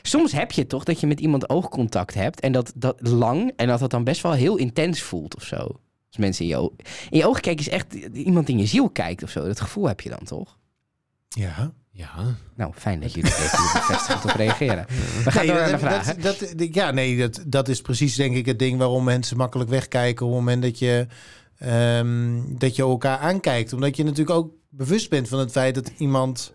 Soms heb je toch dat je met iemand oogcontact hebt en dat, dat lang en dat dat dan best wel heel intens voelt of zo. Als mensen in je, o- in je ogen kijken is echt iemand in je ziel kijkt of zo. Dat gevoel heb je dan toch?
ja.
Ja.
Nou, fijn dat jullie er even bevestigend op reageren. We gaan
Nee,
door
dat,
naar de
heb-
vragen.
dat- dat- d- ja, nee, dat, dat is precies denk ik het ding waarom mensen makkelijk wegkijken op het moment dat je, ehm, dat je elkaar aankijkt. Omdat je natuurlijk ook bewust bent van het feit dat iemand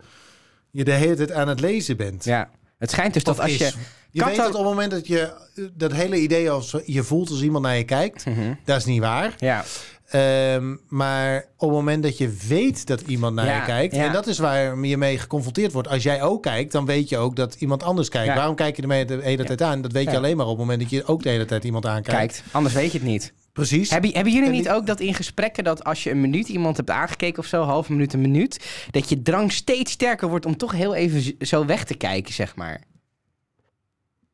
je de hele tijd aan het lezen bent.
Ja, het schijnt dus
Of
dat als
is.
je...
Je weet
katten-
dat op het moment dat je eh, dat hele idee als je voelt als iemand naar je kijkt,
Mhm.
dat is niet waar.
Ja,
Ehm, maar op het moment dat je weet dat iemand naar
Ja,
je kijkt,
ja.
en dat is waar je mee geconfronteerd wordt. Als jij ook kijkt, dan weet je ook dat iemand anders kijkt.
Ja.
Waarom kijk je ermee de hele tijd aan? Dat weet je
Ja.
alleen maar op het moment dat je ook de hele tijd iemand aankijkt.
kijkt. Anders weet je het niet.
Precies.
Hebben, hebben jullie
En
niet
die-
ook dat in gesprekken dat als je een minuut iemand hebt aangekeken of zo, half een minuut, een minuut, dat je drang steeds sterker wordt om toch heel even z- zo weg te kijken, zeg maar?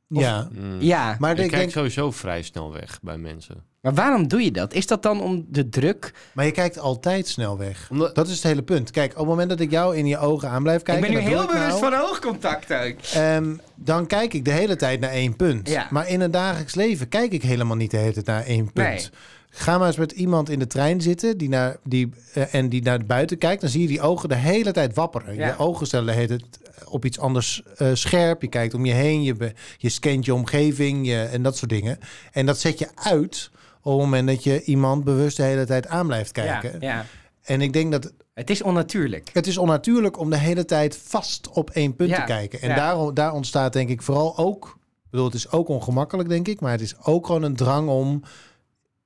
Ja.
Mm.
Ja, maar,
Mm. Maar
je
ik
kijkt
denk,
sowieso vrij snel weg bij mensen.
waarom doe je dat? Is dat dan om de druk?
maar je kijkt altijd snel weg.
Omdat-
Dat is het hele punt. Kijk, op het moment dat ik jou in je ogen aan blijf kijken...
ik ben
dat
nu
doe
heel
ik nou,
bewust van oogcontact uit.
ehm, dan kijk ik de hele tijd naar één punt.
Ja.
Maar in het dagelijks leven kijk ik helemaal niet de hele tijd naar één punt.
Nee.
Ga maar eens met iemand in de trein zitten die naar, die, eh, en die naar buiten kijkt. Dan zie je die ogen de hele tijd wapperen.
Ja.
Je ogen stellen de hele tijd op iets anders eh, scherp. Je kijkt om je heen, je, be- je scant je omgeving je, en dat soort dingen. En dat zet je uit op het moment dat je iemand bewust de hele tijd aan blijft kijken.
Ja, ja.
En ik denk dat
Het is onnatuurlijk.
het is onnatuurlijk om de hele tijd vast op één punt
Ja,
te kijken. En
ja.
daar, daar ontstaat denk ik vooral ook... Ik bedoel, het is ook ongemakkelijk, denk ik. Maar het is ook gewoon een drang om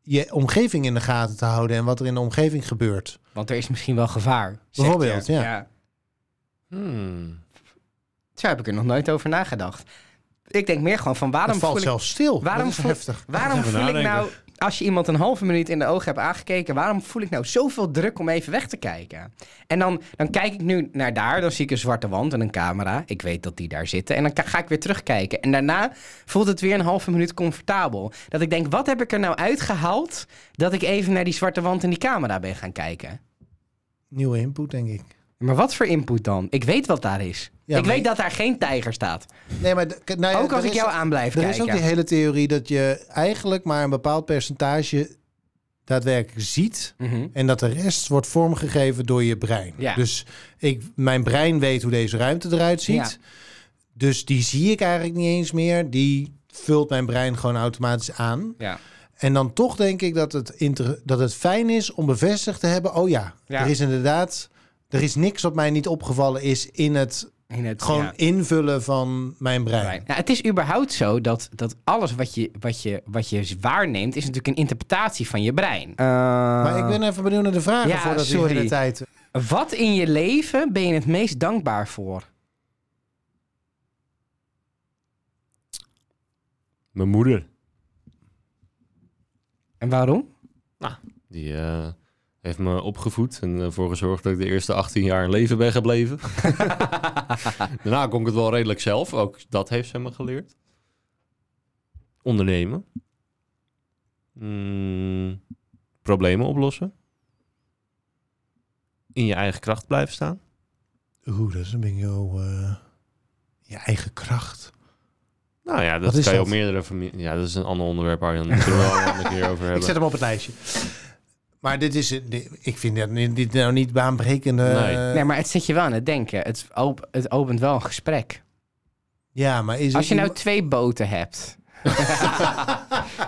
je omgeving in de gaten te houden... en wat er in de omgeving gebeurt.
Want er is misschien wel gevaar. zegt
Bijvoorbeeld,
je.
ja.
Hmm.
Zo heb ik er nog nooit over nagedacht. Ik denk meer gewoon van waarom
het valt
voel ik...
zelfs
waarom
stil. Waarom dat is
voel-
heftig.
Waarom
Even
voel ik
nadenken.
nou, als je iemand een halve minuut in de ogen hebt aangekeken, waarom voel ik nou zoveel druk om even weg te kijken? En dan, dan kijk ik nu naar daar, dan zie ik een zwarte wand en een camera. Ik weet dat die daar zitten. En dan ka- ga ik weer terugkijken. En daarna voelt het weer een halve minuut comfortabel. Dat ik denk, wat heb ik er nou uitgehaald dat ik even naar die zwarte wand en die camera ben gaan kijken?
Nieuwe input, denk ik.
Maar wat voor input dan? Ik weet wat daar is.
Ja,
ik
maar-
weet dat daar geen tijger staat.
Nee, maar d- k- nou ja,
Ook als
er
ik
is-
jou aan blijf
Er
kijken.
is ook die hele theorie dat je eigenlijk maar een bepaald percentage... daadwerkelijk ziet...
Mhm.
En dat de rest wordt vormgegeven door je brein.
Ja.
Dus ik, mijn brein weet hoe deze ruimte eruit ziet. Dus die zie ik eigenlijk niet eens meer. Die vult mijn brein gewoon automatisch aan.
Ja.
En dan toch denk ik dat het, inter- dat het fijn is om bevestigd te hebben... oh ja,
Ja.
er is inderdaad... er is niks wat mij niet opgevallen is in het
In het,
gewoon
ja.
invullen van mijn brein.
Fijn. Ja, het is überhaupt zo dat, dat alles wat je, wat, je, wat je waarneemt, is natuurlijk een interpretatie van je brein.
Eh. Maar ik ben even benieuwd naar de vragen
Ja,
voordat we
sorry.
de hele tijd...
Wat in je leven ben je het meest dankbaar voor?
Mijn moeder,
En waarom?
die eh, heeft me opgevoed en ervoor gezorgd dat ik de eerste 18 jaar in leven ben gebleven. Daarna kon ik het wel redelijk zelf. Ook dat heeft ze me geleerd. Ondernemen. Mm, problemen oplossen. In je eigen kracht blijven staan.
Oeh, dat is een bingo. eh je eigen kracht.
Nou ja,
Wat
dat
is
kan je
dat?
op meerdere familie. Ja, dat is een ander onderwerp waar je dan kunnen we wel een andere keer over
Ik zet
hebben.
hem op het lijstje. Maar dit is, dit- ik vind dat niet- dit nou niet baanbrekende.
Nee.
eh,
nee, maar het zet je wel aan het denken. Het, op, het opent wel een gesprek.
Dus Ja, maar is
Als je
het
nou
niet-
twee boten hebt.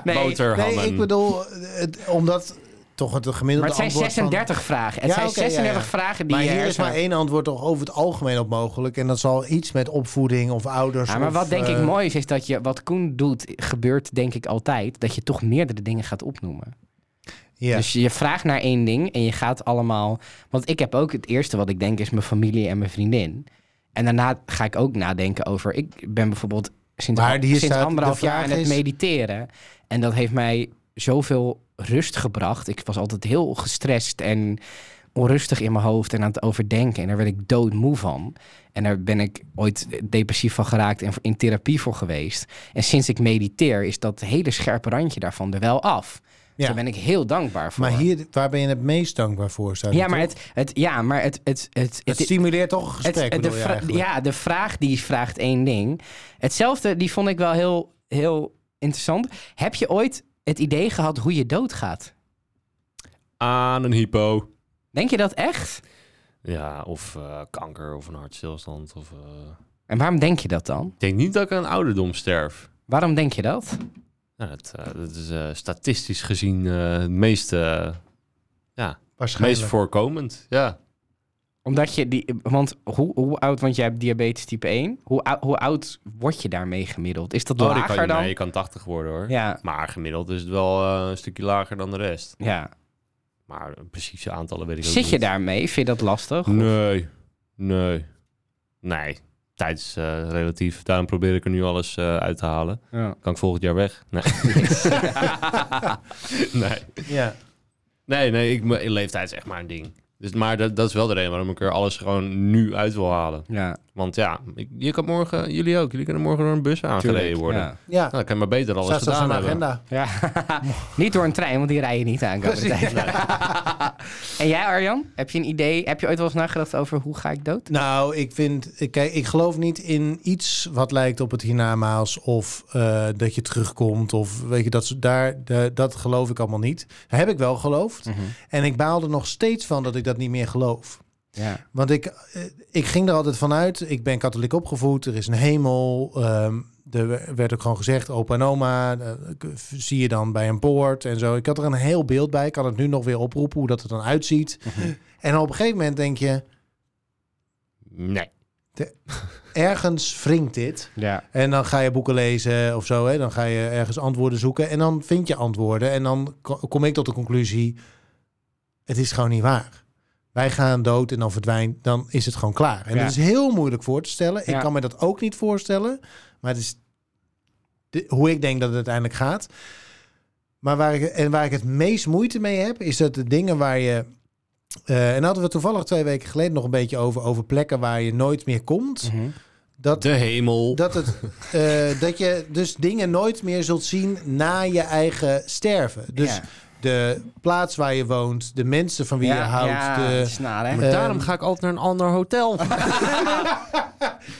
nee,
Boterhammen.
nee, ik bedoel, het, omdat toch het gemiddelde
maar het zijn
antwoord van-
36 vragen. Het
Ja,
zijn
oké, ja,
36
ja.
vragen die
maar
je
hier is
hersenen-
maar één antwoord toch over het algemeen op mogelijk. En dat zal iets met opvoeding of ouders.
Ja, maar
of,
wat denk ik
eh,
mooi is, is dat je wat Koen doet, gebeurt denk ik altijd. Dat je toch meerdere dingen gaat opnoemen.
Ja.
Dus je vraagt naar één ding en je gaat allemaal. Want ik heb ook het eerste wat ik denk is mijn familie en mijn vriendin. En daarna ga ik ook nadenken over. Ik ben bijvoorbeeld sinds,
Maar hier
sinds
staat,
anderhalf
de vraag
jaar aan het
is-
mediteren. En dat heeft mij zoveel rust gebracht. Ik was altijd heel gestrest en onrustig in mijn hoofd en aan het overdenken. En daar werd ik doodmoe van. En daar ben ik ooit depressief van geraakt en in therapie voor geweest. En sinds ik mediteer is dat hele scherpe randje daarvan er wel af. Dus
Ja.
daar ben ik heel dankbaar voor.
maar hier, waar ben je het meest dankbaar voor? Zou
Ja,
je
maar
toch-
het, het, ja, maar het, het, het,
het,
het,
stimuleert toch een gesprek,
het- de
bedoel je
vra-
eigenlijk?
ja, de vraag die vraagt één ding. Hetzelfde, die vond ik wel heel, heel interessant. Heb je ooit het idee gehad hoe je doodgaat?
Aan een hypo.
Denk je dat echt?
Ja, of eh, kanker of een hartstilstand. Of, eh,
En waarom denk je dat dan?
Ik denk niet dat ik aan ouderdom sterf.
Waarom denk je dat?
Nou, dat, eh, dat is eh, statistisch gezien eh, het meest, eh, meest
Waarschijnlijk.
voorkomend. Ja.
Omdat je die, want hoe, hoe oud, want jij hebt diabetes type 1. Hoe, ou- hoe oud word je daarmee gemiddeld? Is dat
Oh, die kan
lager
je,
dan?
nee, je kan 80 worden hoor.
Ja,
Maar gemiddeld is het wel eh, een stukje lager dan de rest.
ja.
Maar de precieze aantallen weet ik ook
Zit je
niet.
daarmee? Vind je dat lastig?
Nee, nee. Nee, tijd is eh, relatief. Daarom probeer ik er nu alles eh, uit te halen.
Ja.
Kan ik volgend jaar weg? Nee. nee.
Ja.
Nee, nee, ik, mijn leeftijd is echt maar een ding. Dus, maar dat, dat is wel de reden waarom ik er alles gewoon nu uit wil halen.
Ja,
Want ja, ik- je kan morgen, jullie ook, jullie kunnen morgen door een bus aangereden
tuurlijk,
worden.
Ja.
Ja,
Nou, dan kan je maar beter alles
staat zelfs aan
gedaan
de
hebben.
agenda.
Ja. niet door een trein, want die rij je niet aan. de komende tijd. en jij, Arjan? Heb je een idee? Heb je ooit wel eens nagedacht over hoe ga ik dood?
Nou, ik vind, ik- kijk, ik geloof niet in iets wat lijkt op het hiernamaals of eh, dat je terugkomt of weet je, dat, ze- daar, de- dat geloof ik allemaal niet. Daar heb ik wel geloofd
Mhm.
en ik baal er nog steeds van dat ik dat niet meer geloof.
Ja.
Want ik, eh, ik ging er altijd vanuit, ik ben katholiek opgevoed, er is een hemel. ehm, er werd ook gewoon gezegd, opa en oma, eh, k- zie je dan bij een poort en zo. Ik had er een heel beeld bij, ik kan het nu nog weer oproepen hoe dat er dan uitziet. En op een gegeven moment denk je,
Nee.
ergens wringt dit.
Ja.
En dan ga je boeken lezen of zo. Hè? Dan ga je ergens antwoorden zoeken. En dan vind je antwoorden. En dan ko- kom ik tot de conclusie: het is gewoon niet waar. Wij gaan dood en dan verdwijnt. Dan is het gewoon klaar. En
Ja.
dat is heel moeilijk voor te stellen. Ik
Ja.
kan me dat ook niet voorstellen. Maar het is de- hoe ik denk dat het uiteindelijk gaat. Maar waar ik, en waar ik het meest moeite mee heb, is dat de dingen waar je. eh, en daar hadden we toevallig twee weken geleden nog een beetje over, over plekken waar je nooit meer
Mhm.
komt. Dat
De hemel.
dat, het, eh, dat je dus dingen nooit meer zult zien na je eigen sterven. Dus
Ja.
de plaats waar je woont, de mensen van wie je
Ja,
houdt. eh,
Ja,
de-
dat is naar, hè?
maar daarom ga ik altijd naar een ander hotel.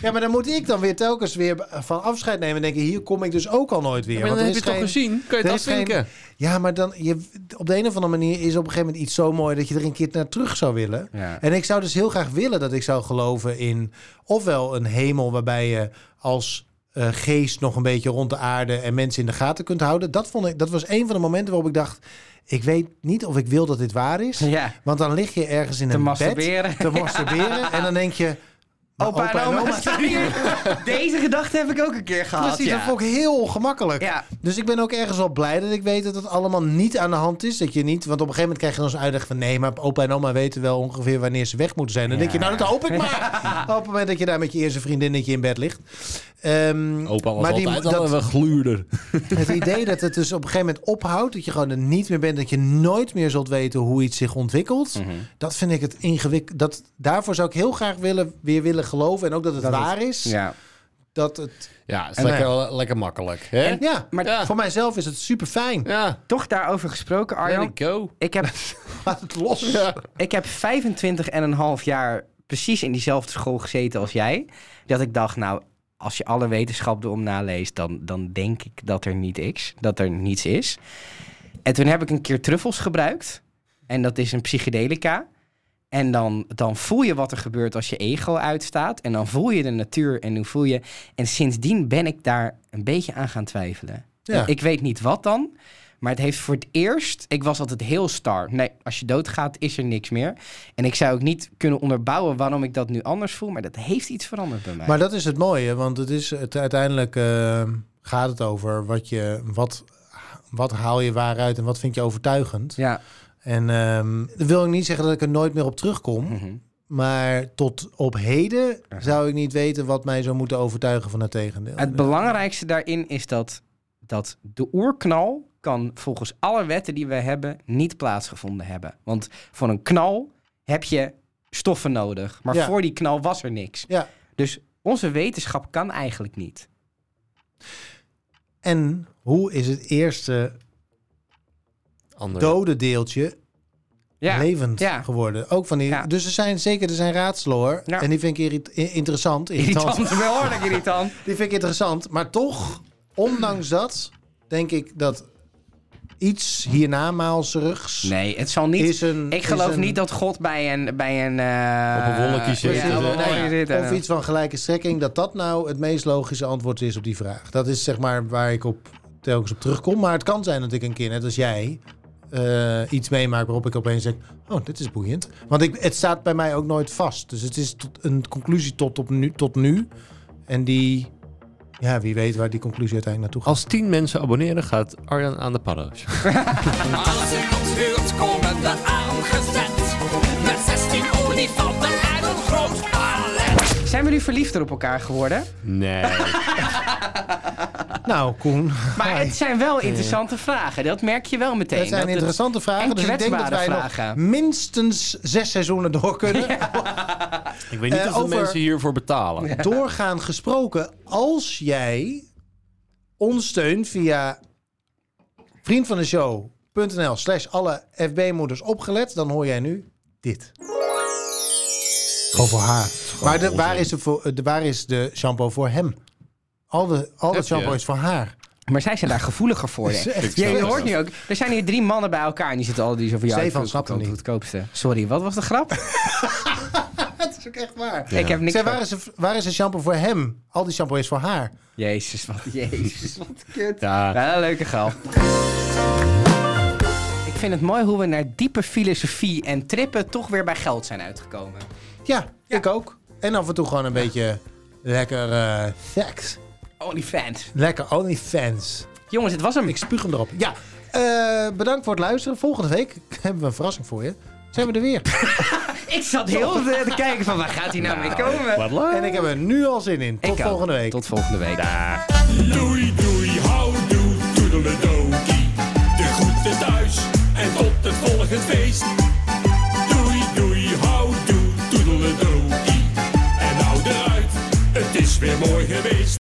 ja, maar dan moet ik dan weer telkens weer van afscheid nemen en denken: hier kom ik dus ook al nooit weer.
maar
want
dan
er
heb
is
je toch
geen-
gezien? Kan je
er
het
is geen-
afvinken?
Ja, maar dan, je, op de een of andere manier is op een gegeven moment iets zo mooi dat je er een keer naar terug zou willen.
Ja.
En ik zou dus heel graag willen dat ik zou geloven in ofwel een hemel waarbij je als eh, geest nog een beetje rond de aarde en mensen in de gaten kunt houden. Dat, vond ik, dat was een van de momenten waarop ik dacht, ik weet niet of ik wil dat dit waar is.
Ja.
Want dan lig je ergens in
Te
een
masturberen.
bed te masturberen en dan denk je... maar
Opa, en oma staan hier. Deze gedachte heb ik ook een keer gehad.
Precies,
ja.
dat vond ik heel ongemakkelijk.
Ja.
Dus ik ben ook ergens wel blij dat ik weet dat het allemaal niet aan de hand is. Dat je niet, want op een gegeven moment krijg je dan zo'n uitleg van... nee, maar opa en oma weten wel ongeveer wanneer ze weg moeten zijn. Dan denk je,
Ja.
nou dat hoop ik maar. op het moment dat je daar met je eerste vriendinnetje in bed ligt. Ehm,
Opa was
maar die-
altijd
dat-
al een gluurder.
het idee dat het dus op een gegeven moment ophoudt... dat je gewoon er niet meer bent, dat je nooit meer zult weten hoe iets zich ontwikkelt... dat vind ik het ingewikkeld. Dat, daarvoor zou ik heel graag willen, weer willen geloven... en ook dat het waar is,
Ja.
dat het...
Ja, is
En
lekker, eh, lekker makkelijk. Hè?
En-
Ja,
Maar
Ja.
voor mijzelf is het super fijn.
ja,
toch daarover gesproken,
let
Arjan.
it go.
Ik heb,
Laat het los.
Ja.
ik heb 25 en een half jaar precies in diezelfde school gezeten als jij. Dat ik dacht, nou, als je alle wetenschap erom naleest, dan, dan denk ik dat er niet is. Dat er niets is. En toen heb ik een keer truffels gebruikt. En dat is een psychedelica. En dan, dan voel je wat er gebeurt als je ego uitstaat. En dan voel je de natuur en dan voel je... En sindsdien ben ik daar een beetje aan gaan twijfelen.
Ja.
En Ik weet niet wat dan. Maar het heeft voor het eerst... Ik was altijd heel star. Nee, als je doodgaat is er niks meer. En ik zou ook niet kunnen onderbouwen waarom ik dat nu anders voel. Maar dat heeft iets veranderd bij mij.
Maar dat is het mooie, want het is het, uiteindelijk eh, gaat het over wat je wat, wat haal je waaruit en wat vind je overtuigend.
ja.
En ehm, dat wil ik niet zeggen dat ik er nooit meer op terugkom.
Mhm.
Maar tot op heden zou ik niet weten wat mij zou moeten overtuigen van het tegendeel.
Het belangrijkste daarin is dat, dat de oerknal kan volgens alle wetten die we hebben niet plaatsgevonden hebben. Want voor een knal heb je stoffen nodig. Maar
Ja.
voor die knal was er niks.
ja.
Dus onze wetenschap kan eigenlijk niet.
En hoe is het
Oh
eerste
Ander.
dode deeltje
Ja.
levend
Ja.
geworden? Ook van die,
Ja.
Dus er zijn zeker er zijn raadselen hoor.
Ja.
En die vind ik irrit- i- interessant.
Irritant, behoorlijk irritant.
Die vind ik interessant. Maar toch, ondanks dat, denk ik dat iets hiernamaalserigs
Nee, het zal niet...
is een...
ik geloof
is een-
niet dat God bij een... Bij een eh,
Op een wolkje zit.
ja, op een wolkje
Nee,
zit eh. en-
Nou of iets van gelijke strekking, dat dat nou het meest logische antwoord is op die vraag. Dat is zeg maar waar ik op, telkens op terugkom. Maar het kan zijn dat ik een keer, net als jij, eh, iets meemaak waarop ik opeens denk... Oh, dit is boeiend. Want ik, het staat bij mij ook nooit vast. Dus het is tot, een conclusie tot, op nu, tot nu. En die... Ja, wie weet waar die conclusie uiteindelijk naartoe gaat.
Als 10 mensen abonneren, gaat Arjan aan de paddo's.
Als ik op vuurt komen we aangezet. Met 16 olifanten en een groot palet.
Zijn we nu verliefder op elkaar geworden?
Nee.
Nou, Koen.
Maar het zijn wel interessante vragen. Dat merk je wel meteen.
Dat zijn
het-
interessante vragen.
en
Dus ik denk dat wij
kwetsbare
nog
vragen.
minstens zes seizoenen door kunnen.
Ik weet niet
Eh,
of de
over-
mensen hiervoor betalen.
Doorgaan gesproken, als jij ons steunt via vriendvandeshow.nl slash alle FB-moeders opgelet, dan hoor jij nu dit. Over haar. Maar de, waar, is de, voor- eh, de, waar is de shampoo voor hem? Al, de, al dat
Heb je?
shampoo is voor haar.
Maar zij zijn daar gevoeliger voor. hè.
Echt.
Ja, je
Zo.
hoort nu ook. Er zijn hier drie mannen bij elkaar en die zitten al die zo van jou.
Stefan snapt hem niet.
goedkoopste. Sorry, wat was de grap?
Dat is ook echt waar.
Ik heb niks.
Zij,
van-
waar, is de, waar is de shampoo voor hem? Al die shampoo is voor haar.
Jezus, wat jezus, wat kut.
Ja.
Wel een leuke grap. Ik vind het mooi hoe we naar diepe filosofie en trippen toch weer bij geld zijn uitgekomen.
Ja, ik ook. En af en toe gewoon een beetje lekker eh seks.
Onlyfans.
Lekker OnlyFans.
Jongens, het was hem.
Ik spuug hem erop. Ja, eh, bedankt voor het luisteren. Volgende week hebben we een verrassing voor je. Zijn we er weer.
Ik zat heel te, te kijken van waar gaat hij nou, mee komen.
Wat leuk.
en ik heb er nu al zin in. Tot
Ik ook.
volgende week.
Tot volgende week.
Doei, doei.